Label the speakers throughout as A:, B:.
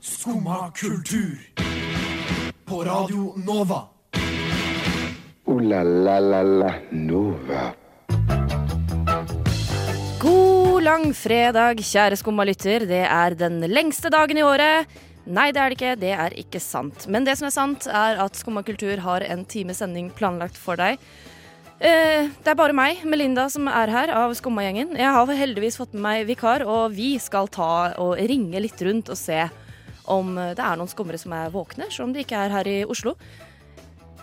A: Skumma kultur. På Radio Nova.
B: Ooh la la la la Nova.
C: God langfredag, kjære skummalytter. Det er den lengste dagen i året. Nei, det er det ikke. Det er ikke sant. Men det som er sant, er at Skumma kultur har en times sending planlagt for deg. Eh, Det er bare meg, Melinda, som er her av Skumma-gjengen. Jeg har heldigvis fått med meg vikar, og vi skal ta og ringe litt rundt og se om det er noen skummere som er våkne, selv om de ikke er her i Oslo.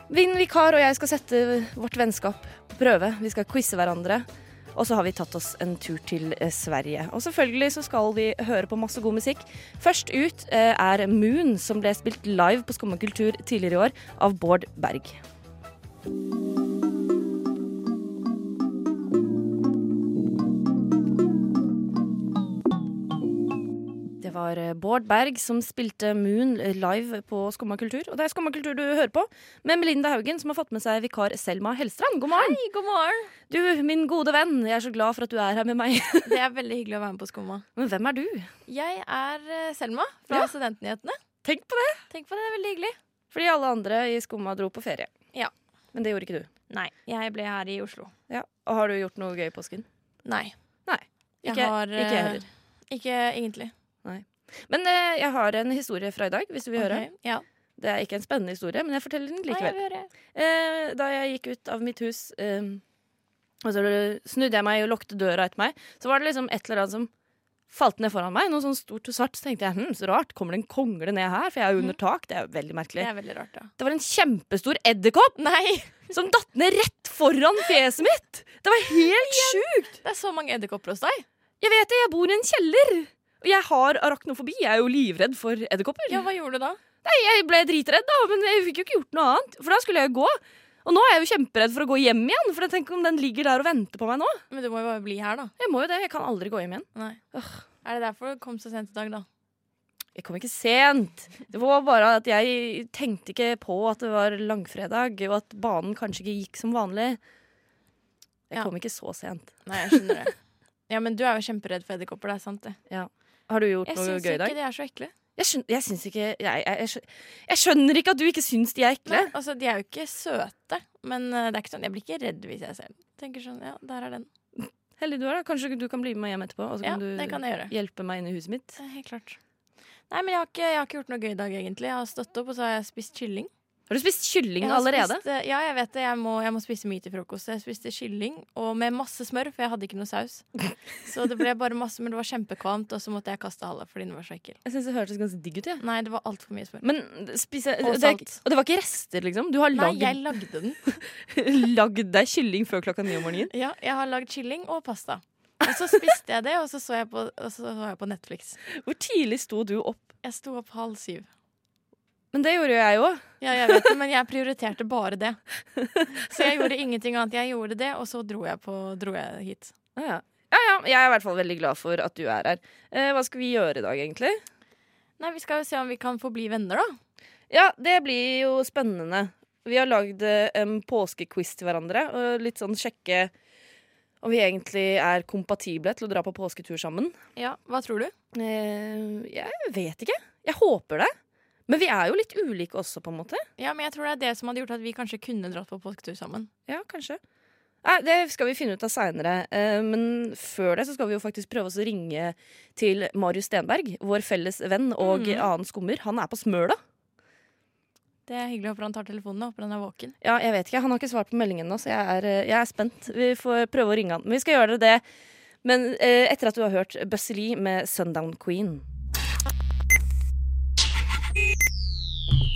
C: Min vikar og jeg skal sette vårt vennskap på prøve. Vi skal quize hverandre. Og så har vi tatt oss en tur til eh, Sverige. Og selvfølgelig så skal vi høre på masse god musikk. Først ut eh, er Moon, som ble spilt live på Skumma kultur tidligere i år av Bård Berg. Det var eh, Bård Berg som spilte Moon live på Skumma kultur. Og det er Skumma kultur du hører på, med Melinda Haugen, som har fått med seg vikar Selma Hellstrand. God morgen!
D: Hei, god morgen.
C: Du, min gode venn, jeg er så glad for at du er her med meg.
D: Det er veldig hyggelig å være med på Skumma.
C: Men hvem er du?
D: Jeg er eh, Selma fra
C: Ja.
D: Studentnyhetene.
C: Tenk på det!
D: Tenk på det, det er veldig hyggelig.
C: Fordi alle andre i Skumma dro på ferie.
D: Ja.
C: Men det gjorde ikke du.
D: Nei, jeg ble her i Oslo.
C: Ja. Og har du gjort noe gøy i påsken?
D: Nei.
C: Nei.
D: Jeg
C: Ikke-
D: har, eh,
C: ikke jeg heller.
D: Ikke egentlig.
C: Men eh, jeg har en historie fra i dag, hvis du vil høre.
D: Ok, Ja.
C: Det er ikke en spennende historie, men jeg forteller den
D: Nei, jeg
C: likevel.
D: vil høre.
C: Eh, da jeg gikk ut av mitt hus, eh, og så snudde jeg meg og lukket døra etter meg, så var det liksom et eller annet som falt ned foran meg. Noe sånn stort og svart. Så tenkte jeg hm, så rart, kommer det en kongle ned her? For jeg er
D: Mhm.
C: jo under tak. Det er jo veldig merkelig.
D: Det er veldig rart, da.
C: Det var en kjempestor edderkopp!
D: Nei!
C: som datt ned rett foran fjeset mitt. Det var helt sjukt.
D: Det er så mange edderkopper hos deg.
C: Jeg vet det, jeg bor i en kjeller. Og jeg har arachnofobi. Jeg er jo livredd for edderkopper.
D: Ja, hva gjorde du da?
C: Nei, jeg ble dritredd, da, men jeg fikk jo ikke gjort noe annet. For da skulle jeg jo gå. Og nå er jeg jo kjemperedd for å gå hjem igjen. For tenk om den ligger der og venter på meg nå.
D: Men du må jo bare bli her, da.
C: Jeg må jo det. Jeg kan aldri gå hjem igjen.
D: Nei.
C: Åh.
D: Er det derfor du kom så sent i dag, da?
C: Jeg kom ikke sent. Det var bare at jeg tenkte ikke på at det var langfredag, og at banen kanskje ikke gikk som vanlig. Jeg
D: Ja.
C: kom ikke så sent.
D: Nei, jeg skjønner det. Ja, men du er jo kjemperedd for edderkopper, det er sant, det.
C: Har du gjort
D: Jeg
C: noe
D: syns
C: gøy i dag?
D: ikke de er så ekle.
C: Jeg, skjøn, jeg, syns ikke, jeg, jeg, jeg, skjøn- jeg skjønner ikke at du ikke syns de er ekle.
D: Nei, altså, de er jo ikke søte, men eh, det er ikke sånn, jeg blir ikke redd hvis jeg ser den. Tenker sånn, ja, der er den.
C: Heldig du er da. Kanskje du kan bli med meg hjem etterpå, og så
D: Ja,
C: kan du
D: det kan jeg gjøre.
C: hjelpe meg inn i huset mitt.
D: Eh, Helt klart. Nei, men jeg har, ikke, jeg har ikke gjort noe gøy i dag, egentlig. Jeg har stått opp, og så har jeg spist kylling.
C: Har du spist
D: Jeg
C: kylling
D: har
C: allerede?
D: Spist, eh, ja, jeg vet det. Jeg må, jeg må spise mye til frokost. Jeg spiste kylling og med masse smør, for jeg hadde ikke noe saus. Så det ble bare masse, men det var kjempekvalmt, og så måtte jeg kaste halve fordi den var så ekkel.
C: Jeg syns det hørtes ganske digg ut. Ja.
D: Nei, det var altfor mye smør.
C: Men spise, det,
D: Og
C: er
D: salt.
C: ikke- og det var ikke rester, liksom? Du har
D: Nei,
C: lagd,
D: jeg lagde den.
C: lagd deg kylling før klokka ni om morgenen?
D: Ja, jeg har lagd kylling og pasta. Og så spiste jeg det, og så så jeg på, og så så jeg på Netflix.
C: Hvor tidlig sto du opp?
D: Jeg sto opp halv syv.
C: Men det gjorde jo jeg òg.
D: Ja, jeg vet det, men jeg prioriterte bare det. Så jeg gjorde ingenting annet. Jeg gjorde det, og så dro jeg, på, dro jeg hit.
C: Ja, ja. ja, ja. Jeg er i hvert fall veldig glad for at du er her. Eh, hva skal vi gjøre i dag, egentlig?
D: Nei, vi skal jo se om vi kan få bli venner, da.
C: Ja, det blir jo spennende. Vi har lagd eh, en påskequiz til hverandre. Og litt sånn sjekke om vi egentlig er kompatible til å dra på påsketur sammen.
D: Ja, Hva tror du?
C: Eh, jeg vet ikke. Jeg håper det. Men vi er jo litt ulike også, på en måte.
D: Ja, men jeg tror det er det som hadde gjort at vi kanskje kunne dratt på påsketur sammen.
C: Ja, kanskje. Nei, Det skal vi finne ut av seinere. Men før det så skal vi jo faktisk prøve oss å ringe til Marius Stenberg, vår felles venn og
D: Mhm.
C: annen skummer. Han er på Smøla.
D: Det er hyggelig. Håper han tar telefonen og håper han er våken.
C: Ja, jeg vet ikke. Han har ikke svart på meldingen ennå, så jeg er, eh, jeg er spent. Vi får prøve å ringe han. Men vi skal gjøre det. Men eh, etter at du har hørt Bussy Lee med 'Sundown Queen'.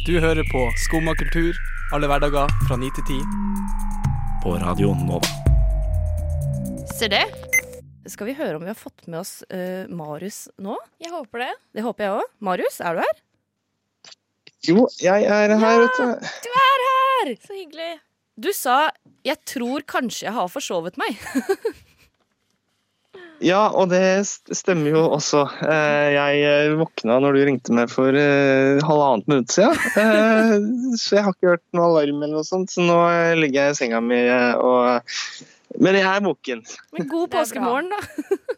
E: Du hører på Skumma kultur alle hverdager fra 9 til 10.
F: på Radio Nova.
D: Ser det?
C: Skal vi høre om vi har fått med oss eh, Marius nå?
D: Jeg håper det.
C: Det håper jeg òg. Marius, er du her?
G: Jo, jeg er her, vet du.
D: Så hyggelig.
C: Du sa 'jeg tror kanskje jeg har forsovet meg'.
G: Ja, og det st- stemmer jo også. Eh, Jeg eh, våkna når du ringte meg for eh, halvannet minutt siden. Eh, Så jeg har ikke hørt noe alarm eller noe sånt, så nå eh, ligger jeg i senga mi eh, og Men jeg er våken.
C: Men god
D: Det er bra.
C: påskemorgen, da.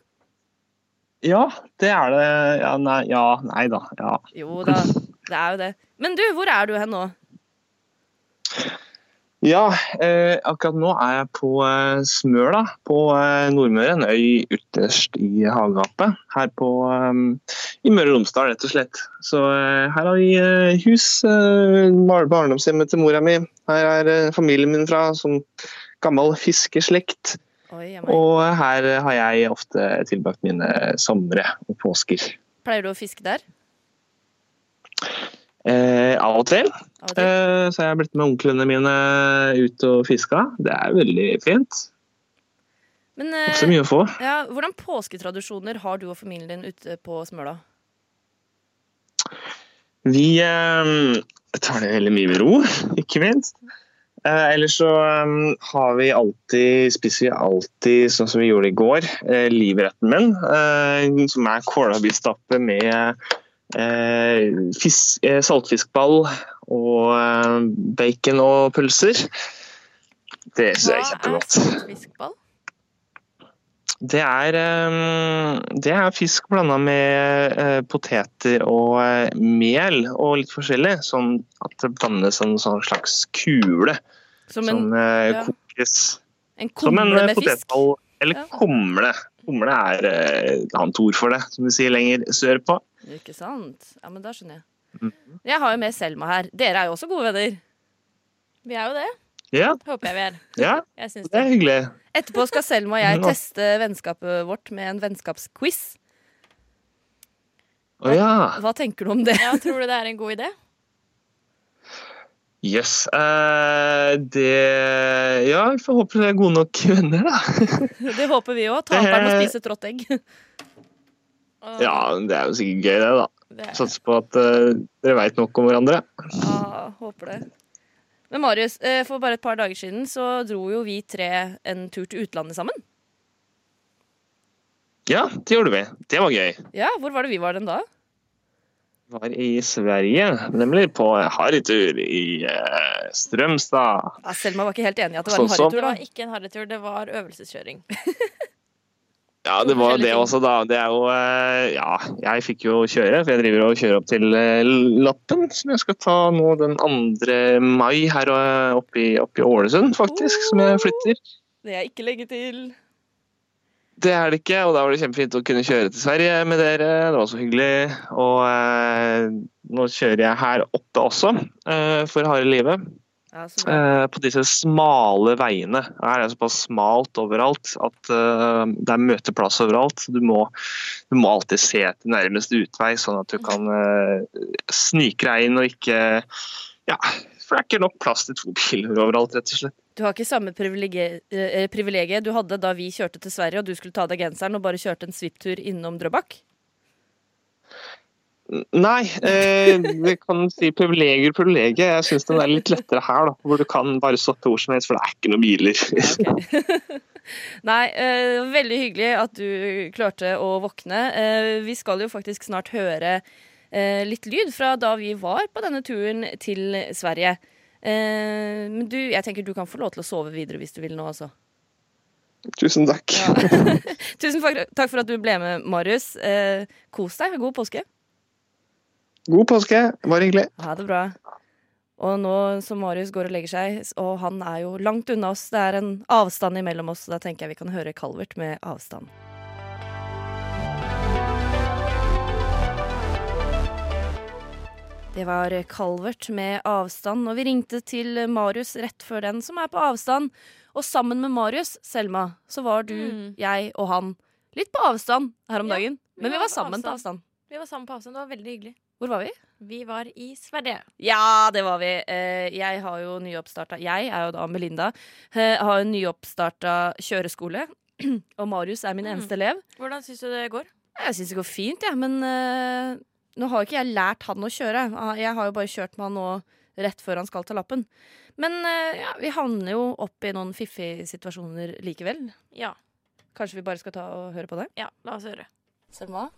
G: Ja, det er det. Ja, nei, ja, nei da. Ja.
C: Jo da, det er jo det. Men du, hvor er du hen nå?
G: Ja, eh, akkurat nå er jeg på eh, Smøla på eh, Nordmøre, en øy ytterst i havgapet. Her på, eh, i Møre og Romsdal, rett og slett. Så eh, her har vi eh, hus, eh, bar barndomshjemmet til mora mi. Her er eh, familien min fra, som gammel fiskeslekt.
C: Oi, jeg må-
G: Og her eh, har jeg ofte tilbrakt mine somre og påsker.
C: Pleier du å fiske der?
G: Eh, av og til.
C: Av og til?
G: Eh, så jeg har blitt med onklene mine ut og fiska. Det er veldig fint.
C: Men
G: Også
C: eh,
G: mye å få.
C: ja, hvordan påsketradisjoner har du og familien din ute på Smøla?
G: Vi eh, tar det veldig mye med ro, ikke minst. Eh, ellers så eh, har vi alltid, spiser vi alltid sånn som vi gjorde i går, eh, livretten min, eh, som er kålrabistappe med eh, fis- eh, saltfiskball og eh, bacon og pølser. Det syns jeg er kjempegodt.
D: fiskball?
G: Det er, eh, det er fisk blanda med eh, poteter og eh, mel og litt forskjellig. Sånn at det blandes en sånn slags kule
C: Som
G: som
C: en,
G: eh,
C: ja.
G: kokes
C: en
G: som en
C: kumle
G: eh,
C: med fisk?
G: potetball. Eller
C: Ja.
G: kumle. Kumle er eh, et annet ord for det, som de sier lenger sørpå.
C: Ikke sant? Ja, men da skjønner
G: Mm.
C: jeg. Jeg har jo med Selma her. Dere er jo også gode venner.
D: Vi er jo det.
G: Ja,
D: Håper jeg vi er.
G: ja,
D: Jeg syns
G: det
D: det.
G: er hyggelig.
C: Etterpå skal Selma og jeg
G: Ja.
C: teste vennskapet vårt med en vennskapsquiz.
G: Å ja.
C: Hva tenker du om det?
D: Ja, tror du det er en god idé?
G: Jøss. Yes. Eh, det Ja, vi får håpe vi er gode nok venner, da.
C: Det håper vi òg. Taperen må
G: Eh.
C: spise et rått egg.
D: Og-
G: Ja, det er jo sikkert gøy, det, da.
D: det,
G: Satser på at eh, dere veit nok om hverandre.
C: Ja, håper det. Men Marius, eh, for bare et par dager siden så dro jo vi tre en tur til utlandet sammen.
G: Ja, det gjorde vi. Det var gøy.
C: Ja, Hvor var det vi var den da?
G: Var i Sverige, nemlig på harrytur i eh, Strømstad.
C: Ja, Selma var ikke helt enig i at det var en
G: Sånn som-
C: harrytur,
D: det
C: da.
D: var ikke en harrytur, det var øvelseskjøring.
G: Ja, det var
D: Forskjellige
G: det
D: ting.
G: også, da. Det er jo eh, Ja, jeg fikk jo kjøre, for jeg driver og kjører opp til eh, Lappen, som jeg skal ta nå den 2. mai her eh, oppe i, oppe i Ålesund, faktisk, som jeg flytter.
C: Det er ikke lenge til.
G: Det er det ikke, og da var det kjempefint å kunne kjøre til Sverige med dere. Det var så hyggelig. Og eh, nå kjører jeg her oppe også, eh, for harde livet.
C: Ja, så bra.
G: Eh, på disse smale veiene. Her er det såpass smalt overalt at eh, det er møteplass overalt. så Du må, du må alltid se etter nærmeste utvei, sånn at du kan eh, snike deg inn og ikke Ja, for det er ikke nok plass til to biler overalt, rett og slett.
C: Du har ikke samme privilegie- eh, privilegiet du hadde da vi kjørte til Sverige og du skulle ta deg genseren og bare kjørte en svipptur innom Drøbak.
G: Nei, eh, vi kan si privilegier, privilegier. Jeg syns den er litt lettere her, da, hvor du kan bare stoppe hvor som helst, for det er ikke noen biler.
C: Nei, eh, veldig hyggelig at du klarte å våkne. Eh, vi skal jo faktisk snart høre eh, litt lyd fra da vi var på denne turen til Sverige. Eh, men du, jeg tenker du kan få lov til å sove videre hvis du vil nå, altså.
G: Tusen takk.
C: Tusen fak- takk for at du ble med, Marius. Eh, kos deg. God påske.
G: God påske. Bare hyggelig.
C: Ha det bra. Og nå som Marius går og legger seg, s- og han er jo langt unna oss, det er en avstand imellom oss, så da tenker jeg vi kan høre Calvert med avstand. Det var Calvert med avstand, og vi ringte til Marius rett før den, som er på avstand. Og sammen med Marius, Selma, så var du,
D: Mm.
C: jeg og han litt på avstand her om
D: Ja,
C: dagen.
D: vi
C: Men vi
D: var
C: var
D: på
C: sammen på avstand.
D: avstand. Vi var sammen på avstand, det var veldig hyggelig.
C: Hvor var vi?
D: Vi var i Sverige.
C: Ja, det var vi. Eh, Jeg har jo nyoppstarta Jeg er jo da Melinda. eh, Har jo nyoppstarta kjøreskole. Og Marius er min
D: Mm.
C: eneste elev.
D: Hvordan syns du det går?
C: Jeg syns det går fint, jeg, men eh, nå har ikke jeg lært han å kjøre. Ah, Jeg har jo bare kjørt med han nå rett før han skal ta lappen. Men eh, ja, vi havner jo opp i noen fiffige situasjoner likevel.
D: Ja.
C: Kanskje vi bare skal ta og høre på det?
D: Ja, la oss høre.
C: Selma,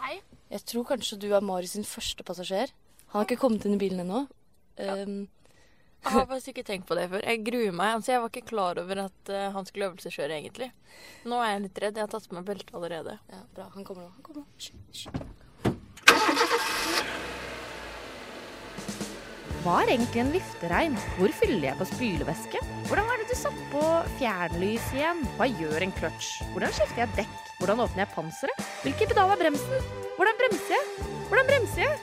D: Hei.
C: jeg tror kanskje du er Marius sin første passasjer. Han har ikke kommet inn i bilen ennå. Um,
D: Jeg har faktisk ikke tenkt på det før. Jeg gruer meg. Altså, jeg var ikke klar over at eh, han skulle øvelseskjøre, egentlig. Nå er jeg litt redd. Jeg har tatt på meg belte allerede.
C: Ja, bra. Han kommer nå. Han kommer nå. Hysj, hysj. Hva er egentlig en viftereim? Hvor fyller jeg på spylevæske? Hvordan er det du satt på fjernlys igjen? Hva gjør en kløtsj? Hvordan skifter jeg dekk? Hvordan åpner jeg panseret? Hvilken pedal er bremsen? Hvordan bremser jeg? Hvordan bremser jeg?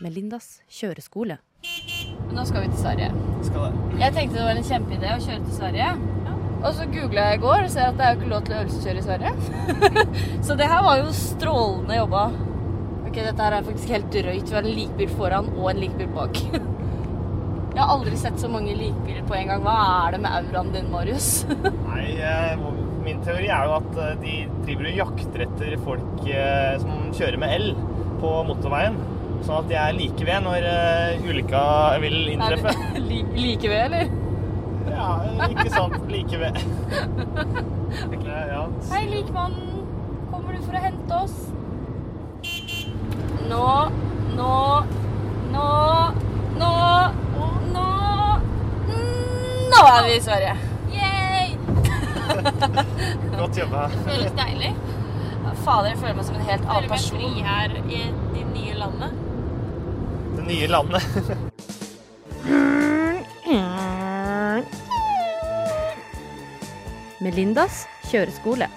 C: Melindas kjøreskole. Nå skal vi til Sverige. Jeg tenkte det var en kjempeidé å kjøre til Sverige. Og så googla jeg i går og ser at det er jo ikke lov til å øvelseskjøre i Sverige. så det her var jo strålende jobba. Ok, dette her er faktisk helt drøyt. Vi har en likbil foran og en likbil bak. jeg har aldri sett så mange likbiler på en gang. Hva er det med auraen din, Marius?
H: Nei, eh, min teori er jo at eh, de driver og jakter etter folk eh, som kjører med el på motorveien. Sånn at de er like ved når eh, ulykka vil
C: Er
H: inntreffe.
C: det li like ved, eller?
H: Ja, eh, ikke sant. Like ved. Eh, Ja.
C: Hei, likmannen. Kommer du for å hente oss? Nå, nå, nå, nå, nå Nå er vi i Sverige. Yay!
H: Godt jobba.
C: Føles deilig. Fader, jeg føler meg som en helt annen person.
D: her i det nye landet.
H: Det nye landet.
C: Melindas kjøreskole.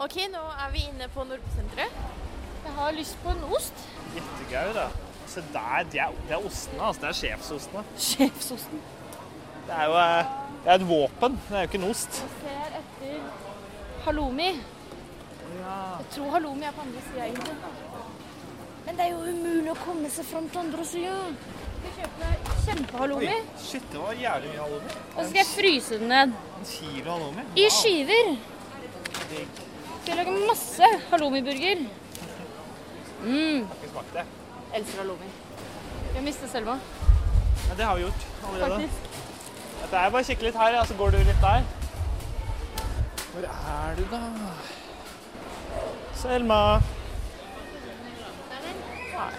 D: OK, nå er vi inne på Nordbysenteret. Jeg har lyst på en ost.
H: Jettegau, da. Se der. Det er, det er ostene, altså. Det er sjefsostene.
C: Sjefsosten.
H: Det er jo eh, det er et våpen. Det er jo ikke en ost.
D: Ser etter halloumi. Jeg tror halloumi er på andre sida, egentlig. Men det er jo umulig å komme seg fram til andre sida. Skal kjøpe kjempehalloumi,
H: Shit, det var jævlig mye halloumi.
D: og så skal jeg fryse den ned
H: En kilo halloumi.
D: i skiver. Skal jeg lage masse halloumiburger. Mm.
H: Har ikke smakt det.
C: Elsker halloumi.
D: Jeg mistet Selma.
H: Ja, det har vi gjort allerede. Dette er bare å kikke litt her, ja, så går du litt der. Hvor er du, da? Selma. Nei.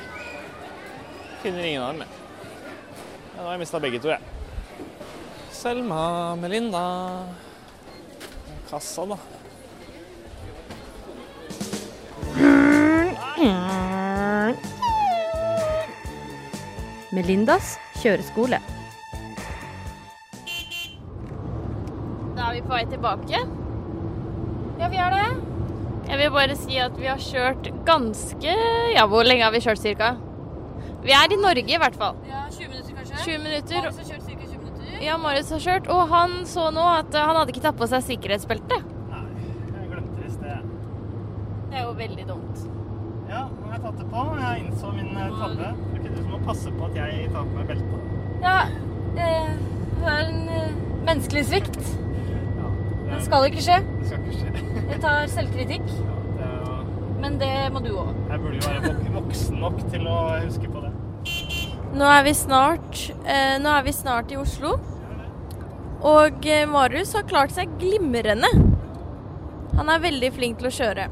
H: Finner ingen av dem, jeg. Ja, nå har jeg mista begge to, jeg. Selma, Melinda Kassa, da.
C: Melindas kjøreskole.
D: Da er vi på vei tilbake. Ja, vi er det. Jeg vil bare si at vi har kjørt ganske Ja, hvor lenge har vi kjørt cirka? Vi er i Norge i hvert fall.
C: Ja, 20 minutter kanskje?
D: 20 minutter.
C: Marius har kjørt cirka 20 minutter.
D: Ja, Marius har kjørt, og han så nå at eh, han hadde ikke tatt på seg sikkerhetsbeltet.
H: Nei, jeg glemte det i sted.
D: Det er jo veldig dumt.
H: Ja, nå har jeg tatt det på. Jeg innså min eh, tabbe. Det er ikke du som må passe på at jeg tar på meg beltet.
C: Ja, eh, det er en eh, menneskelig svikt.
H: Ja,
C: Det
H: det,
C: skal ikke skje.
H: det skal ikke skje.
C: Jeg tar selvkritikk,
H: Ja, det er jo...
C: men det må du òg.
H: Jeg burde jo være vok- voksen nok til å huske på det.
D: Nå er vi snart, eh, nå er vi snart i Oslo. Og eh, Marius har klart seg glimrende. Han er veldig flink til å kjøre.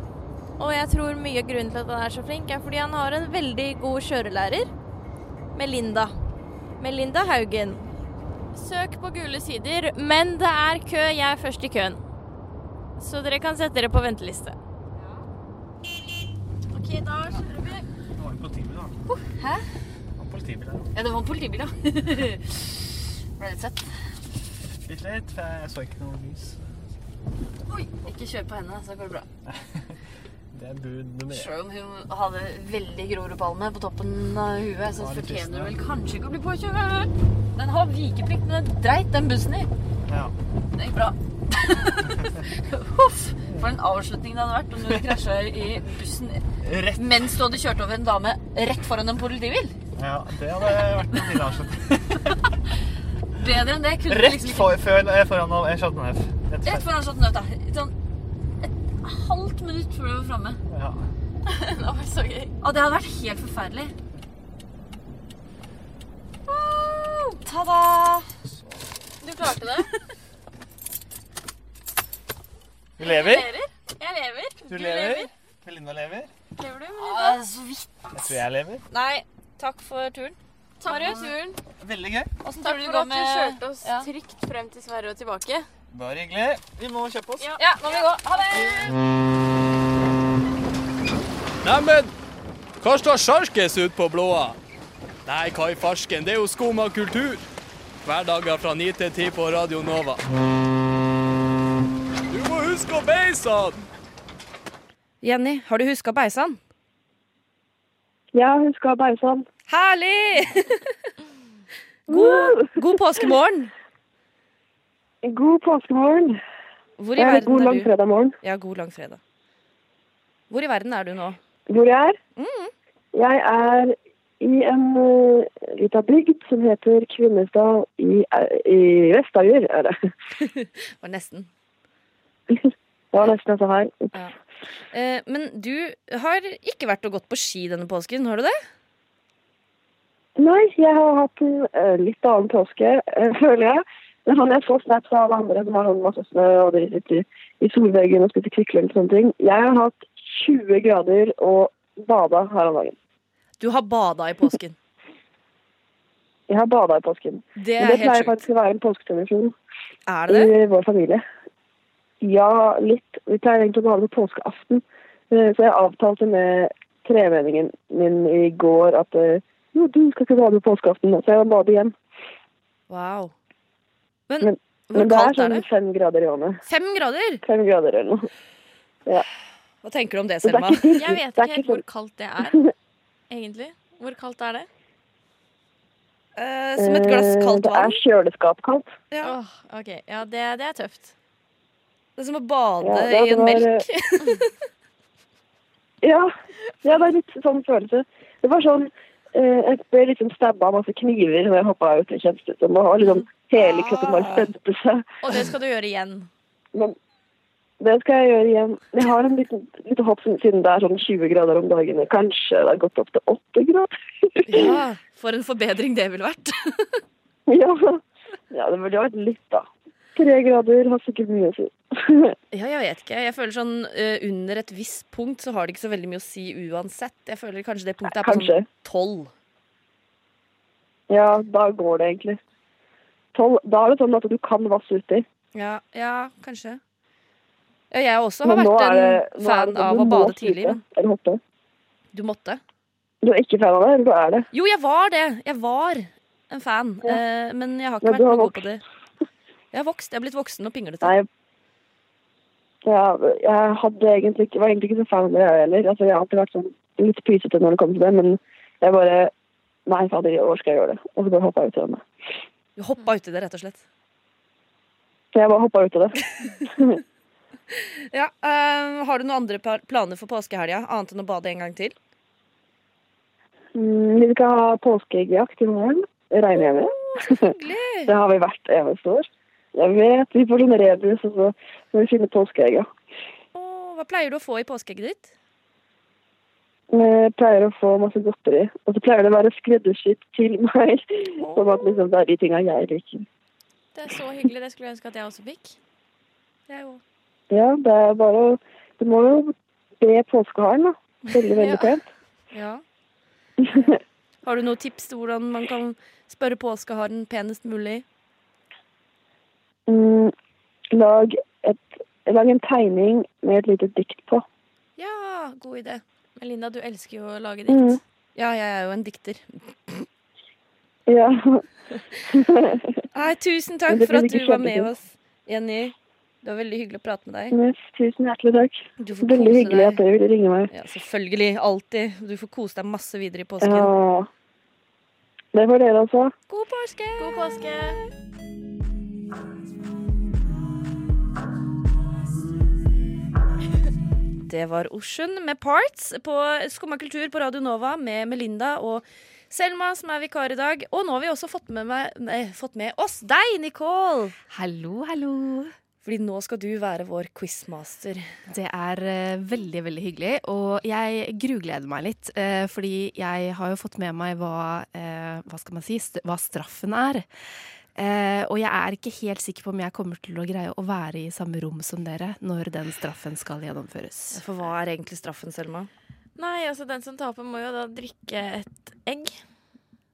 D: Og jeg tror mye av grunnen til at han er så flink, er fordi han har en veldig god kjørelærer. Melinda. Melinda Haugen. Søk på gule sider, men det er kø. Jeg er først i køen. Så dere kan sette dere på venteliste. OK, da kjører vi.
H: Det var en politibil, da.
C: hæ?
H: Det var en politibil der.
C: Ja, det var en politibil, ja. Ble det sett?
H: Litt leit, for jeg så ikke noe lys.
C: Oi, ikke kjør på henne, så går det bra.
H: Det er bud nummer én.
C: Selv om hun hadde veldig Grorudpalme på toppen av huet, så
H: Ja, det er trist,
C: fortjener
H: ja.
C: hun vel kanskje ikke å bli påkjørt. Den har vikeplikt, men den dreit den bussen i.
H: Ja.
C: Det gikk bra. Huff. For en avslutning det hadde vært om du hadde krasja i bussen
H: Rett.
C: mens du hadde kjørt over en dame rett foran en politibil.
H: Ja, det hadde vært en liten avslutning.
C: Bedre enn det kunne du
H: Rett
C: liksom ikke
H: for, før, eh, foran av en Chateau Neuf. Rett
C: Rett
H: for.
C: foran Chateau Neuf, da. Sånn et halvt minutt før du var framme.
H: Ja.
D: Det var så gøy.
C: Og det hadde vært helt forferdelig. Wow, Ta-da!
D: Du klarte det.
H: Vi lever.
D: Jeg lever.
H: Du lever. jeg lever.
D: Nei, takk for turen. Takk for turen.
H: Veldig gøy.
D: Åssen tror du det går med Takk for at du kjørte oss trygt frem til Sverige og tilbake.
H: Bare hyggelig. Vi må kjøpe oss.
D: Ja, nå må vi gå. Ha det!
E: Neimen, hva står sjarkes ut på blåa? Nei, hva i farsken, det er jo skum av kultur. Hverdager fra 9 til 10 på Radio Nova. Du må huske å beise han!
C: Jenny, har du huska beisan?
I: Ja, hun skal ha bausan.
C: Herlig! God, god påskemorgen.
I: God påskemorgen.
C: Hvor i
I: Eller
C: verden
I: god
C: er du?
I: langfredag morgen.
C: Ja, god langfredag. Hvor i verden er du nå?
I: Hvor jeg er?
C: Mm.
I: Jeg er i en uh, lita bygd som heter Kvinnestad i, eh, i Vestager, er det.
C: Var nesten.
I: Det var nesten altså her.
C: Eh, men du har ikke vært og gått på ski denne påsken, har du det?
I: Nei, jeg har hatt en eh, litt annen påske, eh, føler jeg. Men sånn, jeg får snaps av alle andre som har sånn masse snø, og de sitter i solveggen og spiser Kvikk Lunsj og sånne ting. Jeg har hatt 20 grader og bada her om dagen.
C: Du har bada i påsken.
I: Jeg har bada i påsken.
C: Det
I: Men
C: er
I: det
C: helt
I: pleier
C: sjukt.
I: faktisk å være en påsketradisjon
C: Er det det?
I: i vår familie. Ja, litt. Vi pleier egentlig å bade på påskeaften. Eh, Så jeg avtalte med tremenningen min i går at eh, jo, du skal ikke bade på påskeaften, så jeg må bade igjen.
C: Wow. Men,
I: Mm. Men-
C: hvor
I: Men det er
C: kaldt er
I: sånn
C: det?
I: fem grader i vannet.
C: Fem grader?
I: Fem grader eller noe.
C: Hva tenker du om det,
I: Så det er
C: Selma?
I: ikke dritt.
D: Jeg vet
I: Det er
D: ikke helt
I: sånn-
D: hvor kaldt det er, egentlig. Hvor kaldt er det?
C: Eh, som et glass
I: Eh,
C: kaldt vann?
I: Det er kjøleskapkaldt.
C: Ja.
D: Åh, ok. Ja, det, det er tøft.
C: Det er som å bade
I: Ja, det
C: i en
I: var,
C: melk.
I: Ja. ja, det er litt sånn følelse. Det var sånn eh, Jeg ble liksom stabba av masse kniver når jeg hoppa ut. Det kjentes ut som og liksom hele kroppen
C: Ah.
I: bare spente seg.
D: Og det skal du gjøre igjen.
I: Men det skal jeg gjøre igjen. Jeg har en liten, liten hopp siden det er sånn 20 grader om dagen. Kanskje det har gått opp til 8 grader.
C: Ja, for en forbedring det ville vært.
I: ja. ja, det burde jo vært litt, da. Tre grader har sikkert mye å si.
C: Ja, jeg vet ikke. Jeg føler sånn eh, under et visst punkt så har det ikke så veldig mye å si uansett. Jeg føler kanskje det punktet er på
I: Kanskje.
C: sånn tolv.
I: Ja, da går det egentlig. Tolv, da er det sånn at du kan vasse uti.
C: Ja, ja, kanskje. Ja, jeg også har
I: Men nå
C: vært
I: er
C: en
I: det, nå er
C: fan
I: det sånn,
C: av
I: du
C: å
I: må
C: bade
I: skute
C: tidlig. Men
I: Eller hoppe.
C: du måtte.
I: Du er ikke fan av det, eller du er det?
C: Jo, jeg var det. Jeg var en fan. eh, men jeg har ikke
I: Men
C: vært
I: du har
C: noe god
I: vokst.
C: på det. Jeg har vokst. Jeg har blitt voksen og pinglete.
I: Nei. Ja, jeg hadde egentlig ikke, var egentlig ikke så fan av det jeg heller. Altså, jeg har alltid vært sånn litt pysete når det kommer til det, men jeg bare Nei, fader, i år skal jeg gjøre det. Og så bare hoppa jeg ut av det.
C: Jeg hoppa uti det, rett og slett.
I: Så jeg bare hoppa ut av det.
C: Ja, eh, Har du noen andre par- planer for påskehelga, annet enn å bade en gang til?
I: Mm, Vi skal ha påskeeggjakt i morgen. Regner jeg med.
C: Hyggelig!
I: Det har vi hvert eneste år. Jeg vet, Vi får sånn rebus, og så må vi finne påskeegga.
C: Åh, Hva pleier du å få i påskeegget ditt?
I: Jeg pleier å få masse godteri. Og så pleier det å være skreddersydd til meg. Sånn at liksom, det er de tinga jeg liker.
D: Det er så hyggelig. Det skulle jeg ønske at jeg også fikk.
C: Jeg òg.
I: Ja, det er bare å- Du må jo be påskeharen, da. Veldig, veldig
D: Ja.
I: pent.
C: Ja. Har du noen tips til hvordan man kan spørre påskeharen penest mulig?
I: Mm, lag, et, lag en tegning med et lite dikt på.
C: Ja, god idé.
D: Men Linda, du elsker jo å lage dikt.
I: Mm.
C: Ja, jeg er jo en dikter.
I: Ja.
C: Nei, tusen
I: Men
C: takk
I: det
C: for at
I: blir
C: du
I: ikke
C: var med
I: kjempefint.
C: oss, Jenny. Det var veldig hyggelig å prate med deg.
I: Yes, tusen hjertelig takk.
C: Du får
I: Veldig
C: kose
I: hyggelig
C: deg.
I: at dere ville ringe meg.
C: Ja, selvfølgelig. Alltid. Du får kose deg masse videre i påsken.
I: Ja. Det var dere, altså.
D: God påske! God påske!
C: Det var Ocean med Parts på Skumma kultur på Radio Nova med Melinda og Selma, som er vikar i dag. Og nå har vi også fått med, meg, nei, fått med oss deg, Nicole!
J: Hallo, hallo.
C: Fordi nå skal du være vår quizmaster.
J: Det er eh, veldig, veldig hyggelig. Og jeg grugleder meg litt, eh, fordi jeg har jo fått med meg hva, eh, hva skal man si, st hva straffen er. Eh, og jeg er ikke helt sikker på om jeg kommer til å greie å være i samme rom som dere når den straffen skal gjennomføres.
C: For hva er egentlig straffen, Selma?
D: Nei, altså den som taper må jo da drikke et egg.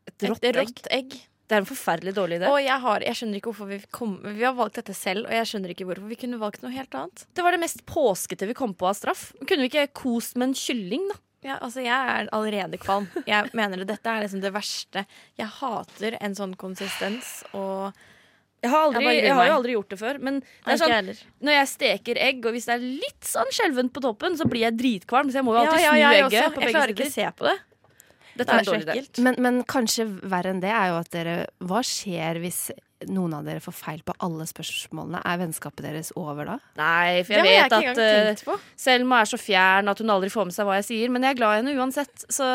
C: Et rått
D: rått egg.
C: Det er en forferdelig dårlig idé.
D: Og jeg, har, jeg skjønner ikke hvorfor vi, kom, vi har valgt dette selv, og jeg skjønner ikke hvorfor vi kunne valgt noe helt annet.
C: Det var det mest påskete vi kom på av straff. Kunne vi ikke kost med en kylling, da?
D: Ja, altså Jeg er allerede kvalm. Jeg mener det, Dette er liksom det verste. Jeg hater en sånn konsistens og
C: Jeg har,
D: Jeg
C: aldri,
D: bare
C: jeg,
D: gruer
C: har
D: meg.
C: jo aldri gjort det før. Men det
D: Nei,
C: er
D: ikke jeg
C: sånn,
D: heller.
C: når jeg steker egg, og hvis det er litt sånn skjelvent på toppen, så blir jeg dritkvalm. Så jeg må jo alltid snu
D: jeg
C: egget på
D: Jeg
C: begge
D: klarer ikke å
C: sider.
D: se på det.
C: Dette
D: Det
C: er
D: er
C: en dårlig
D: så
C: idé.
D: ekkelt.
J: Men, men kanskje verre enn det er jo at dere Hva skjer hvis noen av dere får feil på alle spørsmålene? Er vennskapet deres over da?
C: Nei, for
D: Det
C: jeg
D: har jeg
C: vet
D: ikke engang
C: at eh,
D: tenkt på.
C: Selma er så fjern at hun aldri får med seg hva jeg sier, men jeg er glad i henne uansett. Så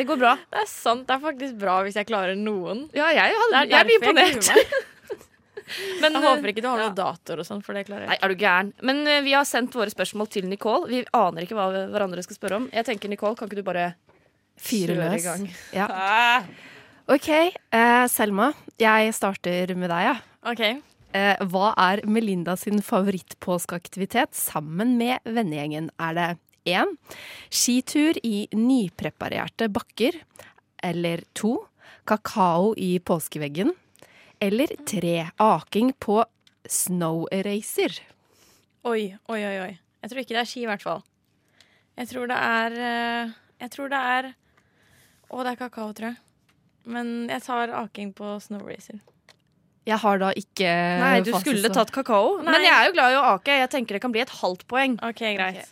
C: det går bra.
D: Det er sant. Det er faktisk bra hvis jeg klarer noen.
C: Ja, jeg,
D: Det
C: hadde,
D: er
C: jeg blir
D: derfor jeg gruer
C: imponert.
D: meg.
C: Men,
D: Jeg
C: eh,
D: håper ikke du har noen datoer og sånn, for det klarer
C: Nei,
D: jeg ikke.
C: er du gæren? Men eh, vi har sendt våre spørsmål til Nicole. Vi aner ikke hva hverandre skal spørre om. Jeg tenker, Nicole, kan ikke du bare
J: Fyre
C: Kjør i
J: løs.
C: gang. Ah.
J: Ja. OK, eh, Selma. Jeg starter med deg, ja.
D: Ok.
J: Eh, hva er Melinda sin favorittpåskeaktivitet sammen med vennegjengen? Er det 1. Skitur i nypreparerte bakker. Eller 2. Kakao i påskeveggen. Eller 3. Aking på snow eraser.
D: Oi, oi, oi, oi. Jeg tror ikke det er ski, i hvert fall. Jeg tror det er eh, Jeg tror det er Å, det er kakao, tror jeg. Men jeg tar aking på snowracer.
J: Jeg har da ikke
C: Nei, du skulle tatt kakao. Eh, Men
D: Nei.
C: jeg er jo glad i å ake. Jeg tenker det kan bli et halvt poeng.
D: OK, greit.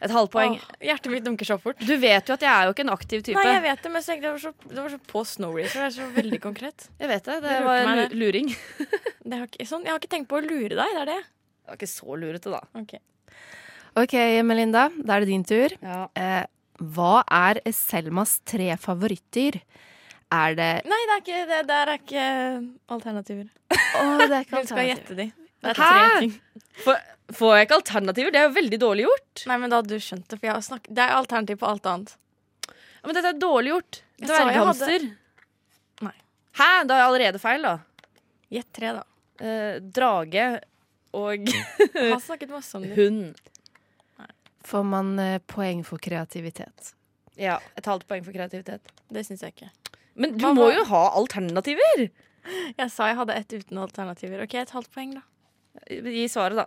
C: Et halvt poeng.
D: Åh, hjertet mitt dunker så fort.
C: Du vet jo at jeg er jo ikke en aktiv type.
D: Nei, jeg vet det, men så tenkte jeg det var så, det var så på snowracer. Det er så veldig konkret.
C: Jeg vet det. Det
D: lurte
C: var en
D: meg,
C: lu- luring.
D: Det har ikke, sånn, jeg har ikke tenkt på å lure deg, det er det.
C: Det var ikke så lurete, da.
D: Ok.
J: OK, Melinda. Da er det din tur.
C: Ja.
J: Eh, hva er Selmas tre favorittdyr? Er det
D: Nei, det er ikke, det der er ikke alternativer.
J: Å, det er
D: Hun skal gjette de. Det er
C: Hæ?
D: tre ting.
C: Får, får jeg ikke alternativer? Det er jo veldig dårlig gjort.
D: Nei, men da hadde du skjønt det, for jeg har snakk- det er alternativ på alt annet.
C: Ja, Men dette er dårlig gjort.
D: Jeg sa jeg hadde-
C: Dverghamster.
D: Nei.
C: Hæ? Da er jeg allerede feil, da.
D: Gjett tre, da.
C: Eh, drage og
D: Jeg har snakket masse om det.
C: hund.
J: Får man eh, poeng for kreativitet?
C: Ja, et halvt poeng for kreativitet.
D: Det syns jeg ikke.
C: Men du
D: Hva
C: må
D: var-
C: jo ha alternativer!
D: Jeg sa jeg hadde ett uten alternativer. OK, et halvt poeng, da.
C: Gi svaret, da.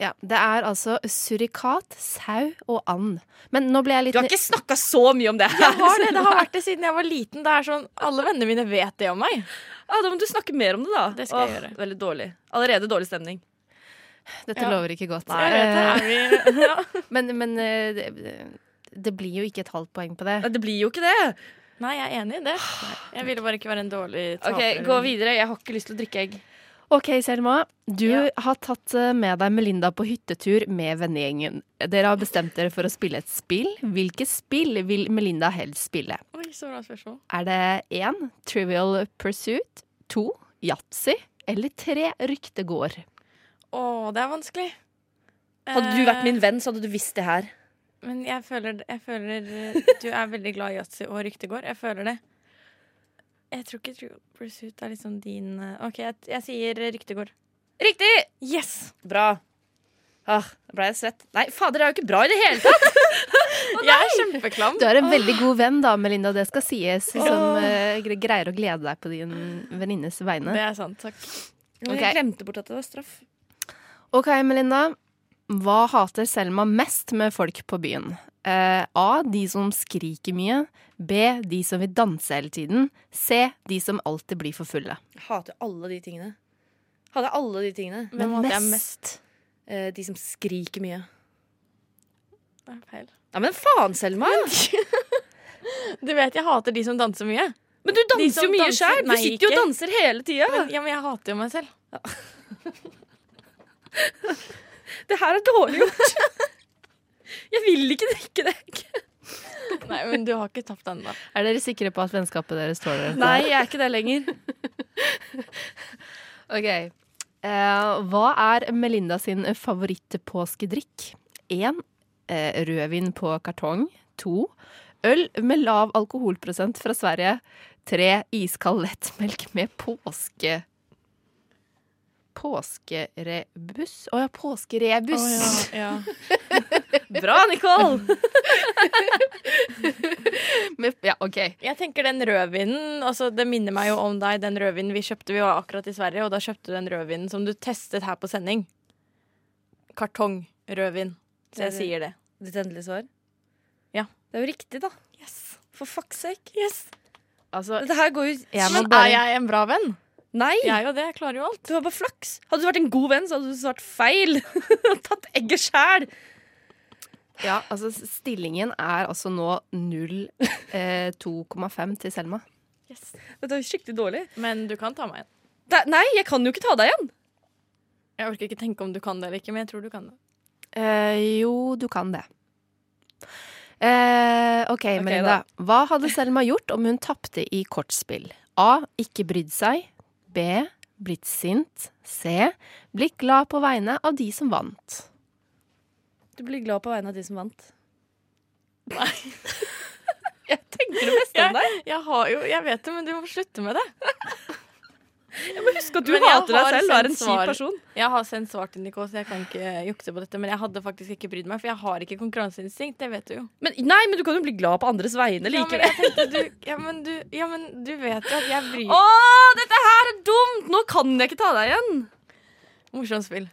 J: Ja, Det er altså surikat, sau og and. Men nå ble jeg litt
C: Du har ikke snakka så mye om det her!
D: Jeg har det, det har vært det siden jeg var liten. Det er sånn, Alle vennene mine vet det om meg.
C: Ja, da må du snakke mer om det, da.
D: Det skal jeg gjøre.
C: Veldig dårlig. Allerede dårlig stemning.
J: Dette
D: Ja.
J: lover ikke godt.
D: Jeg vet det,
J: Eh,
D: er vi, ja.
J: men men eh, det, det blir jo ikke et halvt poeng på det.
C: Nei, Det blir jo ikke det.
D: Nei, jeg er enig i det. Jeg ville bare ikke være en dårlig taper.
C: Ok, Gå videre. Jeg har ikke lyst til å drikke egg.
J: Ok, Selma. Du
D: Ja.
J: har tatt eh, med deg Melinda på hyttetur med vennegjengen. Dere har bestemt dere for å spille et spill. Hvilke spill vil Melinda helst spille?
D: Oi, så bra spørsmål.
J: Er det én Trivial Pursuit, to yatzy eller tre ryktegård?
D: Å, det er vanskelig.
C: Hadde du vært min venn, så hadde du visst det her.
D: Eh, Men jeg føler, jeg føler eh, du er veldig glad i yatzy og ryktegård. Jeg føler det. Jeg tror ikke True Pursuit er liksom din eh, OK, jeg, jeg sier ryktegård.
C: Riktig!
D: Yes!
C: Bra. Ah, da ble jeg svett. Nei, fader, det er jo ikke bra i det hele tatt!
D: jeg er kjempeklam.
J: Du er en veldig god venn da, Melinda, det skal sies,
D: Liksom,
J: som
C: Åh.
J: eh, gre- greier å glede deg på din venninnes
D: Det
J: vegne.
D: er sant. Takk.
C: Men
J: Ok.
C: Jeg glemte bort at det var straff.
J: Ok, Melinda. Hva hater Selma mest med folk på byen? Eh, A. De som skriker mye. B. De som vil danse hele tiden. C. De som alltid blir for fulle.
C: Jeg hater alle de tingene. Hater alle de tingene.
D: Hvem hater jeg mest?
C: Eh, de som skriker mye.
D: Det er feil.
C: Ja, men faen, Selma!
D: Du vet jeg hater de som danser mye.
C: Men du
D: De
C: danser
D: som
C: jo mye
D: danser-
C: sjøl! Du
D: Nei,
C: sitter jo og
D: ikke.
C: danser hele tida!
D: Men, ja, men jeg hater jo meg selv.
C: Det her er dårlig gjort. Jeg vil ikke drikke det.
D: Nei, men du har ikke tapt ennå.
J: Er dere sikre på at vennskapet deres tåler dette?
C: Nei, jeg er ikke det lenger.
J: Ok. Eh, hva er Melinda sin favorittpåskedrikk? 1. Eh, rødvin på kartong. 2. Øl med lav alkoholprosent fra Sverige. 3. Iskald lettmelk med påske... Påskerebus? Å ja, påskerebus!
D: ja.
C: Bra, Nicole!
D: ja, ok. Jeg tenker den rødvinen altså Det minner meg jo om deg, den rødvinen vi kjøpte. Vi var akkurat i Sverige, og da kjøpte du den rødvinen som du testet her på sending. Kartong rødvin. Så jeg
C: Det er
D: sier det.
C: Ditt endelige svar?
D: Ja.
C: Det er jo riktig, da. For fuck's sake.
D: Altså,
C: Dette her går jo
D: jeg må
C: Men
D: bare...
C: er jeg-
D: er jeg en bra venn?
C: Nei!
D: Jeg er jo det. Jeg klarer jo alt.
C: Du har bare flaks. Hadde du vært en god venn, så hadde du svart feil. Tatt egget sjæl.
I: Ja, altså s- stillingen er altså nå eh, 0,2,5 til Selma.
C: Dette er jo skikkelig dårlig.
D: Men du kan ta meg igjen.
C: Da, nei, jeg kan jo ikke ta deg igjen.
D: Jeg orker ikke tenke om du kan det eller ikke, men jeg tror du kan det.
I: Eh, jo, du kan det. Eh, OK, Melinda. Hva hadde Selma gjort om hun tapte i kortspill? A. Ikke brydd seg. B. Blitt sint. C. Blitt glad på vegne av de som vant.
C: Du blir glad på vegne av de som vant.
D: Tenker du mest om deg? Jeg, jeg har jo Jeg vet det, men du må slutte med det.
C: Jeg må huske at du
D: Men jeg
C: hater deg
D: har
C: selv og er en
D: sendt
C: kjip
D: svar.
C: person.
D: Jeg har sendt svar til Nicole, så jeg kan ikke jukse på dette. Men jeg hadde faktisk ikke brydd meg, for jeg har ikke konkurranseinstinkt. Det vet du jo.
C: Men, nei, men du kan jo bli glad på andres vegne
D: Ja, men
C: likevel.
D: jeg tenkte du, ja, men du, ja, men du vet jo at jeg bryr
C: Å, dette her er dumt! Nå kan jeg ikke ta deg igjen.
D: Morsomt spill.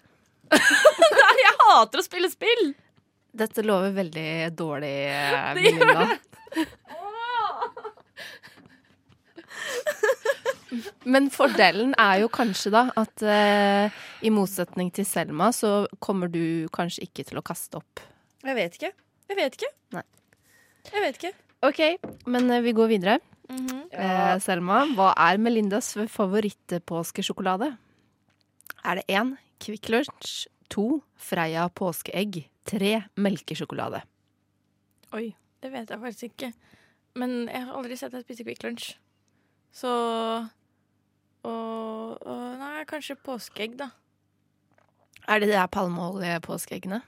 C: Nei, jeg hater å spille spill.
I: Dette lover veldig dårlig, eh,
C: Det gjør
I: Melinda. Men fordelen er jo kanskje da at eh, i motsetning til Selma, så kommer du kanskje ikke til å kaste opp.
C: Jeg vet ikke. Jeg vet ikke.
I: Nei.
C: Jeg vet ikke.
I: OK, men eh, vi går videre.
C: Mhm.
I: Eh, Selma, hva er Melindas favorittpåskesjokolade? Er det én Kvikk Lunsj, to Freia påskeegg, tre melkesjokolade?
D: Oi, det vet jeg faktisk ikke. Men jeg har aldri sett deg spise Quick Lunch. Så og, og Nei, kanskje påskeegg, da.
I: Er det de der palmeolje-påskeeggene?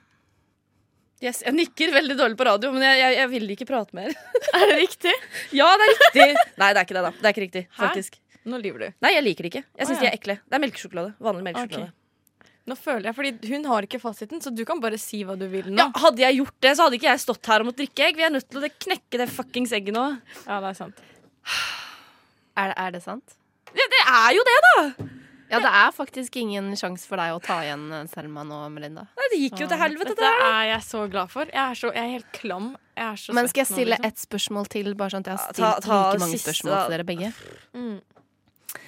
C: Yes, jeg nikker veldig dårlig på radio, men jeg, jeg, jeg vil ikke prate mer.
D: Er det riktig?
C: Ja, det er riktig! Nei, det er ikke det, da. Det er ikke riktig,
D: Hæ?
C: faktisk.
D: Nå lyver du.
C: Nei, jeg liker det ikke. Jeg syns
D: Å,
C: de
D: ja.
C: er ekle. Det er melkesjokolade. Vanlig melkesjokolade.
D: Nå føler jeg, fordi Hun har ikke fasiten, så du kan bare si hva du vil nå.
C: Ja, hadde jeg gjort det, så hadde ikke jeg stått her og måttet drikke egg. Vi er nødt til å knekke det fuckings egget nå.
D: Ja, det er sant.
I: Er, er det sant?
C: Ja, det er jo det, da!
I: Ja, det er faktisk ingen sjanse for deg å ta igjen eh, Selma nå, Melinda.
C: Nei, det gikk jo til helvete,
D: Dette
C: det der.
D: er jeg så glad for. Jeg er, så, jeg er helt klam. Jeg er så
I: Men skal jeg
D: svett nå,
I: stille
D: liksom.
I: ett spørsmål til, bare sånn at jeg har
C: Ja, ta-
I: stilt
C: ta
I: like mange
C: siste,
I: spørsmål
C: da.
I: til dere begge?
D: Mm.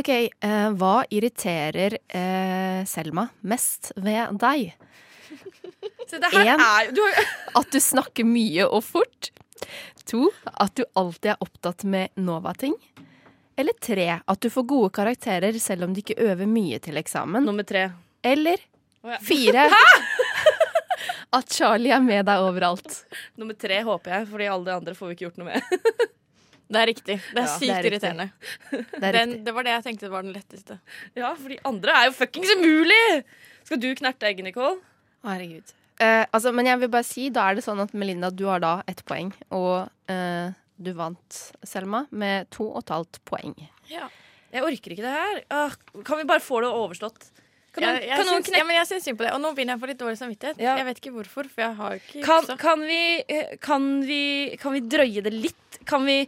I: OK, eh, hva irriterer eh, Selma mest ved deg?
D: liksom.
C: Se, det her
I: En.
C: er jo du har,
I: At du snakker mye og fort? To, at du alltid er opptatt med Nova-ting? Eller tre, at du får gode karakterer selv om du ikke øver mye til eksamen?
C: Nummer tre.
I: Eller
C: Å, ja.
I: fire, at Charlie er med deg overalt?
C: Nummer tre håper jeg, fordi alle de andre får vi ikke gjort noe med.
D: Det er riktig. Det er
C: Ja,
D: sykt
I: det er riktig.
D: irriterende.
I: Det er
D: Den,
I: riktig.
D: det var det jeg tenkte var den letteste.
C: Ja, for de andre er jo fuckings umulig! Skal du knerte egget, Nicole?
I: Herregud. Eh, altså, men jeg vil bare si, da er det sånn at Melinda, du har da ett poeng. Og eh, du vant, Selma, med to og et halvt poeng.
C: Jeg orker ikke det her. Ah, kan vi bare få det overstått? Kan noen,
D: Jeg, jeg,
C: kan noen
D: syns, ja, men jeg syns synd på det. Og nå begynner jeg å få litt dårlig samvittighet.
C: Ja.
D: Jeg vet ikke hvorfor, for jeg har ikke
C: Kan,
D: juksa.
C: kan, vi, eh, kan, vi, kan vi drøye det litt? Kan vi,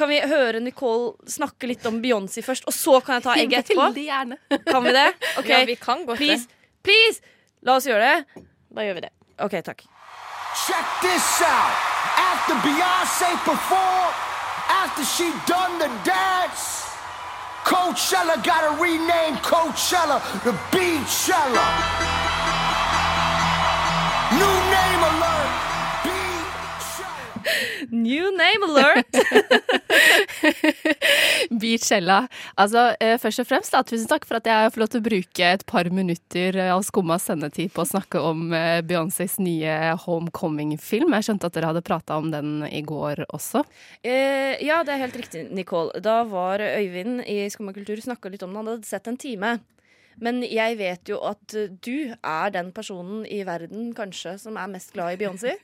C: kan vi høre Nicole snakke litt om Beyoncé først, og så kan jeg ta egget etterpå?
I: Veldig gjerne.
C: Kan vi det? Ok,
D: Ja, vi kan godt
C: Please, please! La oss gjøre det.
D: det. Da gjør vi det.
C: OK, takk.
A: Check this out. After Beyonce performed, after she done the dance, Coachella got to rename Coachella to Beachella. New name alert. Beachella.
C: New name alert!
I: Beachella. Altså, eh, først og fremst, da, tusen takk for at jeg får lov til å bruke et par minutter eh, av skumma sendetid på å snakke om eh, Beyoncés nye Homecoming-film. Jeg skjønte at dere hadde prata om den i går også.
C: Eh, ja, det er helt riktig, Nicole. Da var Øyvind i Skumma kultur snakka litt om det. Han hadde sett en time.
K: Men jeg vet jo at eh, du er den personen i verden kanskje som er mest glad i Beyoncé.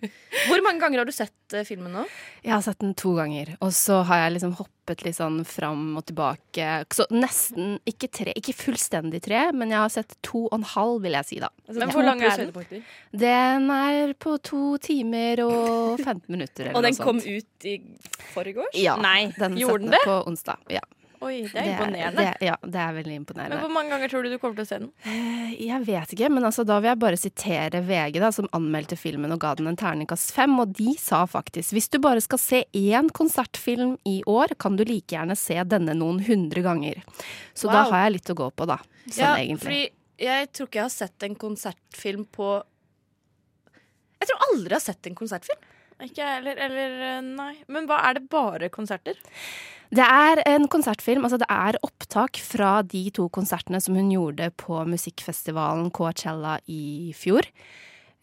K: Hvor mange ganger har du sett eh, filmen nå?
C: Jeg har sett den to ganger, og så har jeg liksom hoppet litt sånn fram og tilbake. Så nesten ikke tre, ikke fullstendig tre, men jeg har sett to og en halv, vil jeg si da.
K: Altså, Men to hvor lang pluss er den? høydepunkter?
C: Den er på to timer og 15 minutter eller
K: Og
C: noe
K: den kom
C: sånt.
K: ut i forgårs?
C: Ja,
D: Nei,
C: den
D: gjorde den
C: satte
D: det?
C: På onsdag, ja.
D: Oi, det er imponerende.
C: Det, ja, det er veldig imponerende.
D: Men hvor mange ganger tror du du kommer til å se den?
C: Eh, Jeg vet ikke, men altså, da vil jeg bare sitere VG, da, som anmeldte filmen og ga den en terningkast fem, og de sa faktisk hvis du bare skal se én konsertfilm i år, kan du like gjerne se denne noen hundre ganger. Så da
K: Wow.
C: har jeg litt å gå på, da. Sånn
K: ja,
C: egentlig.
K: fordi jeg tror ikke jeg har sett en konsertfilm på Jeg tror aldri jeg har sett en konsertfilm.
D: Ikke jeg heller. Eller eh, nei. Men hva er det bare konserter?
C: Det er en konsertfilm, altså det er opptak fra de to konsertene som hun gjorde på musikkfestivalen Coachella i fjor.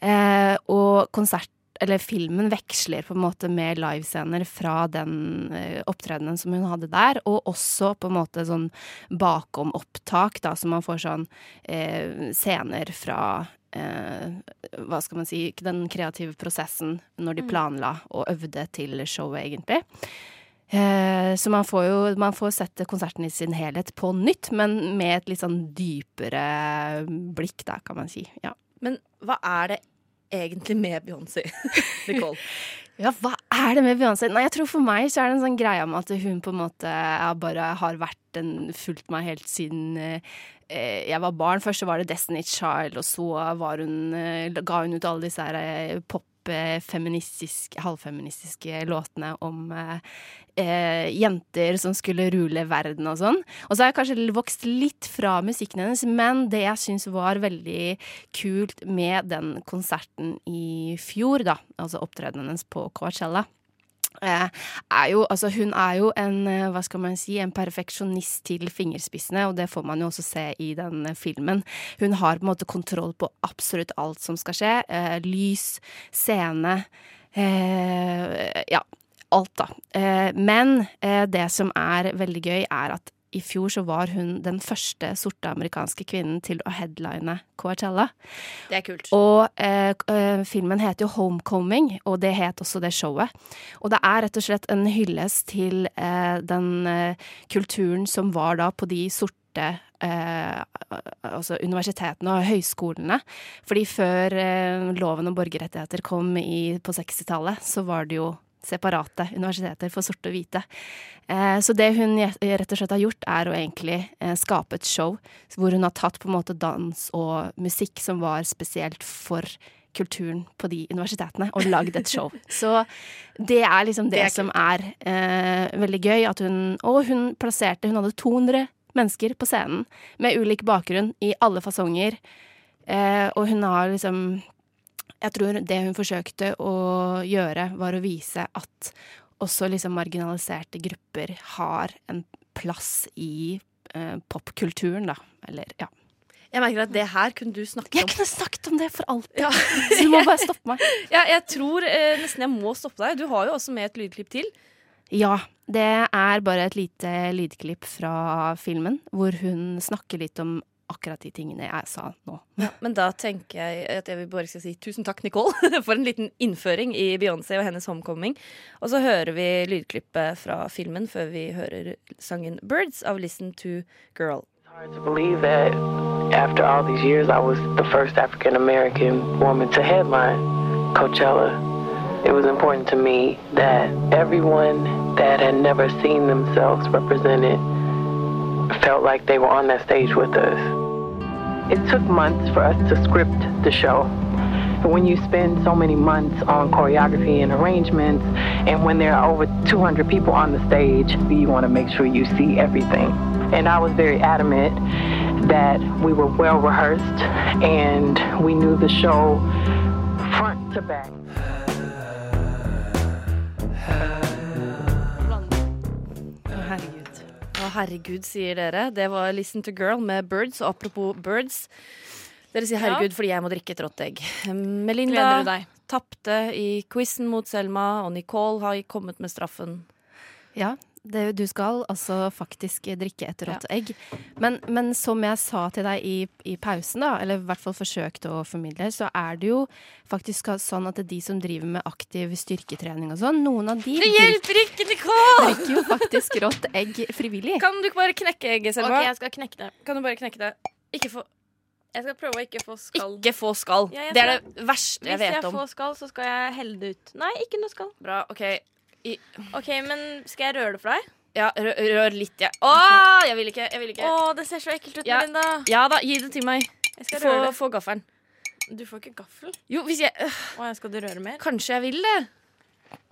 C: Eh, og konsert, eller filmen veksler på en måte med livescener fra den eh, opptredenen som hun hadde der, og også på en måte sånn bakom-opptak, da, så man får sånn eh, scener fra eh, hva skal man si, den kreative prosessen når de
L: Mm.
C: planla og øvde til showet, egentlig. Eh, Så man får jo man får sett konserten i sin helhet på nytt, men med et litt sånn dypere blikk, da, kan man si. Ja.
K: Men hva er det egentlig med Beyoncé? Nicole.
C: Ja, hva er det med Beyoncé? Nei, jeg tror For meg så er det en sånn greie med at hun på en måte ja, bare har vært en, fulgt meg helt siden eh, eh, jeg var barn. Først så var det Destiny's Child, og så var hun, eh, ga hun ut alle disse her eh, pop eh, feministiske, halvfeministiske låtene om eh, eh, jenter som skulle rule verden og sånn. Og så har jeg kanskje vokst litt fra musikken hennes, men det jeg syns var veldig kult med den konserten i fjor, da, altså opptredenen hennes på Coachella, eh, er jo, altså hun er jo en, eh, hva skal man si, en perfeksjonist til fingerspissene, og det får man jo også se i den eh, filmen. Hun har på en måte kontroll på absolutt alt som skal skje. Eh, lys, scene, eh, ja, alt da. Eh, men eh, det som er veldig gøy er at i fjor så var hun den første sorte amerikanske kvinnen til å headline Coachella.
K: Det er kult.
C: Og eh, k- eh, filmen heter jo Homecoming, og det het også det showet. Og det er rett og slett en hyllest til eh, den eh, kulturen som var da på de sorte Eh, altså universitetene og høyskolene. Fordi før eh, loven om borgerrettigheter kom i, på 60-tallet, så var det jo separate universiteter for sorte og hvite. Eh, så det hun je- rett og slett har gjort, er å egentlig eh, skape et show hvor hun har tatt på en måte dans og musikk som var spesielt for kulturen på de universitetene, og lagd et show. Så det er liksom det,
K: Det er
C: som er eh, veldig gøy. At hun, og hun plasserte Hun hadde 200 mennesker på scenen med ulik bakgrunn i alle fasonger. Eh, og hun har liksom Jeg tror det hun forsøkte å gjøre, var å vise at også liksom marginaliserte grupper har en plass i eh, popkulturen, da. Eller, ja.
K: Jeg merker at det her kunne du snakke om. Jeg
C: kunne snakket om det for alltid.
K: Så
C: du må bare stoppe meg.
K: ja, jeg tror eh, nesten jeg må stoppe deg. Du har jo også med et lydklipp til.
C: Ja. Det er bare et lite lydklipp fra filmen hvor hun snakker litt om akkurat de tingene jeg sa nå.
K: Men da tenker jeg at jeg vil bare skal si tusen takk, Nicole, for en liten innføring i Beyoncé og hennes homecoming. Og så hører vi lydklippet fra filmen før vi hører sangen 'Birds' av Listen to Girl.
I: believe that after all these years, I was the first African American woman to headline Coachella. It was important to me that everyone that had never seen themselves represented felt like they were on that stage with us. It took months for us to script the show. And when you spend so many months on choreography and arrangements, and when there are over 200 people on the stage, you want to make sure you see everything. And I was very adamant that we were well rehearsed and we knew the show front to back.
K: Å, herregud. Å, herregud, sier dere. Det var Listen to Girl med Birds. Og apropos Birds. Dere sier herregud fordi jeg må drikke et rått egg.
D: Gleder du
K: Melinda
D: deg?
K: tapte i quizen mot Selma, og Nicole har kommet med straffen.
C: Ja,
J: det, du skal altså faktisk drikke et rått egg. Men, men som jeg sa til deg i, i pausen, da, eller i hvert fall forsøkte å formidle, så er det jo faktisk sånn at det er de som driver med aktiv styrketrening og sånn, noen av de
C: Det hjelper ikke,
J: drikker-
C: Nicole!
J: drikker jo faktisk rått egg frivillig.
C: Kan du ikke bare knekke egget, Selma?
D: Ok, jeg skal knekke det.
C: Kan du bare knekke det? Ikke få,
D: Jeg skal prøve å ikke få skall.
C: ikke få skall.
D: Ja, jeg
C: det er
D: skal-
C: det verste jeg vet
D: Hvis jeg
C: om.
D: får skall, så skal jeg helle det ut. Nei, ikke noe skall.
C: Bra, ok.
D: Ok, men skal jeg røre det for deg?
C: Ja, rør, rør litt, jeg. Å, jeg vil ikke. Jeg vil ikke.
D: Å, det ser så ekkelt ut,
C: Ja.
D: Melinda.
C: Ja da, gi det til meg.
D: Jeg skal
C: Få,
D: røre det.
C: få gaffelen.
D: Du får ikke gaffel.
C: Jo, hvis jeg øh,
D: Å, ja, skal du røre mer?
C: Kanskje jeg vil det.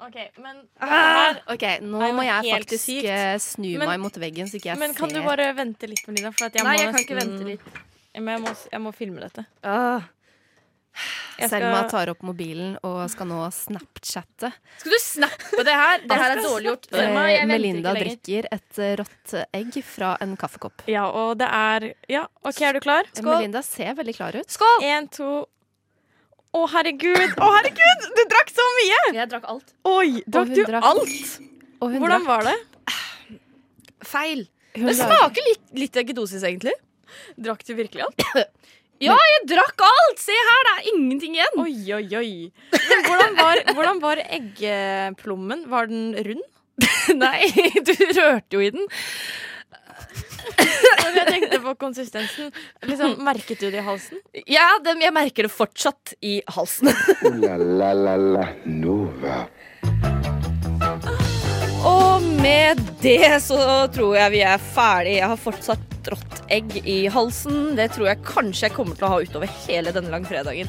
D: Ok, men
J: Ah! Ok, nå
D: er jo
J: må jeg
D: helt
J: faktisk
D: sykt.
J: eh, snu
D: Men-
J: meg mot veggen, så ikke jeg
D: Men kan
J: ser
D: du bare vente litt, Melinda? For at jeg
C: Nei,
D: må
C: jeg kan ikke
D: nesten-
C: vente litt.
D: Ja, Men jeg må, jeg må filme dette.
C: Ah.
D: Jeg skal-
J: Selma tar opp mobilen og skal nå Snapchatte.
C: Skal du snappe det her? Det her er dårlig gjort. Selma,
J: Eh,
C: jeg venter
J: Melinda
C: ikke lenger.
J: drikker et eh, rått egg fra en kaffekopp.
D: Ja, og det er Ja, OK, er du klar?
J: Eh,
D: Skål.
J: Melinda ser veldig klar ut.
C: Skål!
D: Én, to Å, herregud! Å, herregud! Du drakk så mye!
C: Jeg drakk alt.
D: Oi, drakk
J: hun
D: du
J: drakk-
D: alt?
J: Og hun
D: Hvordan
J: drakk-
D: var det?
C: Feil.
J: hun
C: Det
J: drakk-
C: smaker litt, litt eggedosis, egentlig.
D: Drakk du virkelig alt?
C: Jeg drakk alt! Se her, det er ingenting igjen.
D: Oi, oi, oi. Men hvordan var, hvordan var eggeplommen? Var den rund?
C: Nei, du rørte jo i den.
D: Men Jeg tenkte på konsistensen. Liksom, Merket du det i halsen?
C: Ja, dem, jeg merker det fortsatt i halsen.
B: Ooh la la la la Nova.
C: Og med det så tror jeg vi er ferdig. Jeg har fortsatt rått egg i halsen. Det tror jeg kanskje jeg kommer til å ha utover hele denne langfredagen.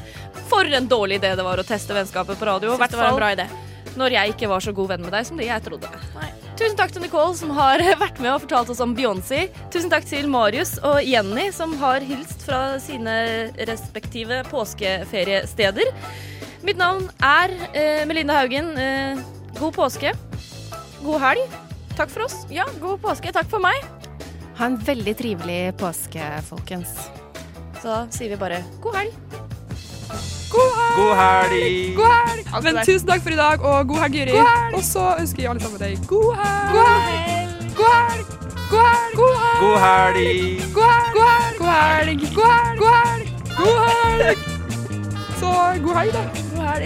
C: For en dårlig idé det var å teste vennskapet på radio.
D: Jeg synes det var en bra idé.
C: når jeg ikke var så god venn med deg som det jeg trodde.
D: Nei.
C: Tusen takk til Nicole som har vært med og fortalt oss om Beyoncé. Tusen takk til Marius og Jenny som har hilst fra sine respektive påskeferiesteder. Mitt navn er eh, Melinda Haugen. Eh, god påske. God helg. Takk for oss.
D: Ja, god påske. Takk for meg.
J: Ha en veldig trivelig påske, folkens.
C: Så da sier vi bare god helg.
M: God helg!
N: God helg! Men tusen takk for i dag, og god helg, Juri. Og så ønsker vi alle sammen deg god helg! God helg! God helg! God helg! God helg!
M: God helg!
N: God helg! God helg! God helg! God helg! God helg! Så god helg, da. God helg.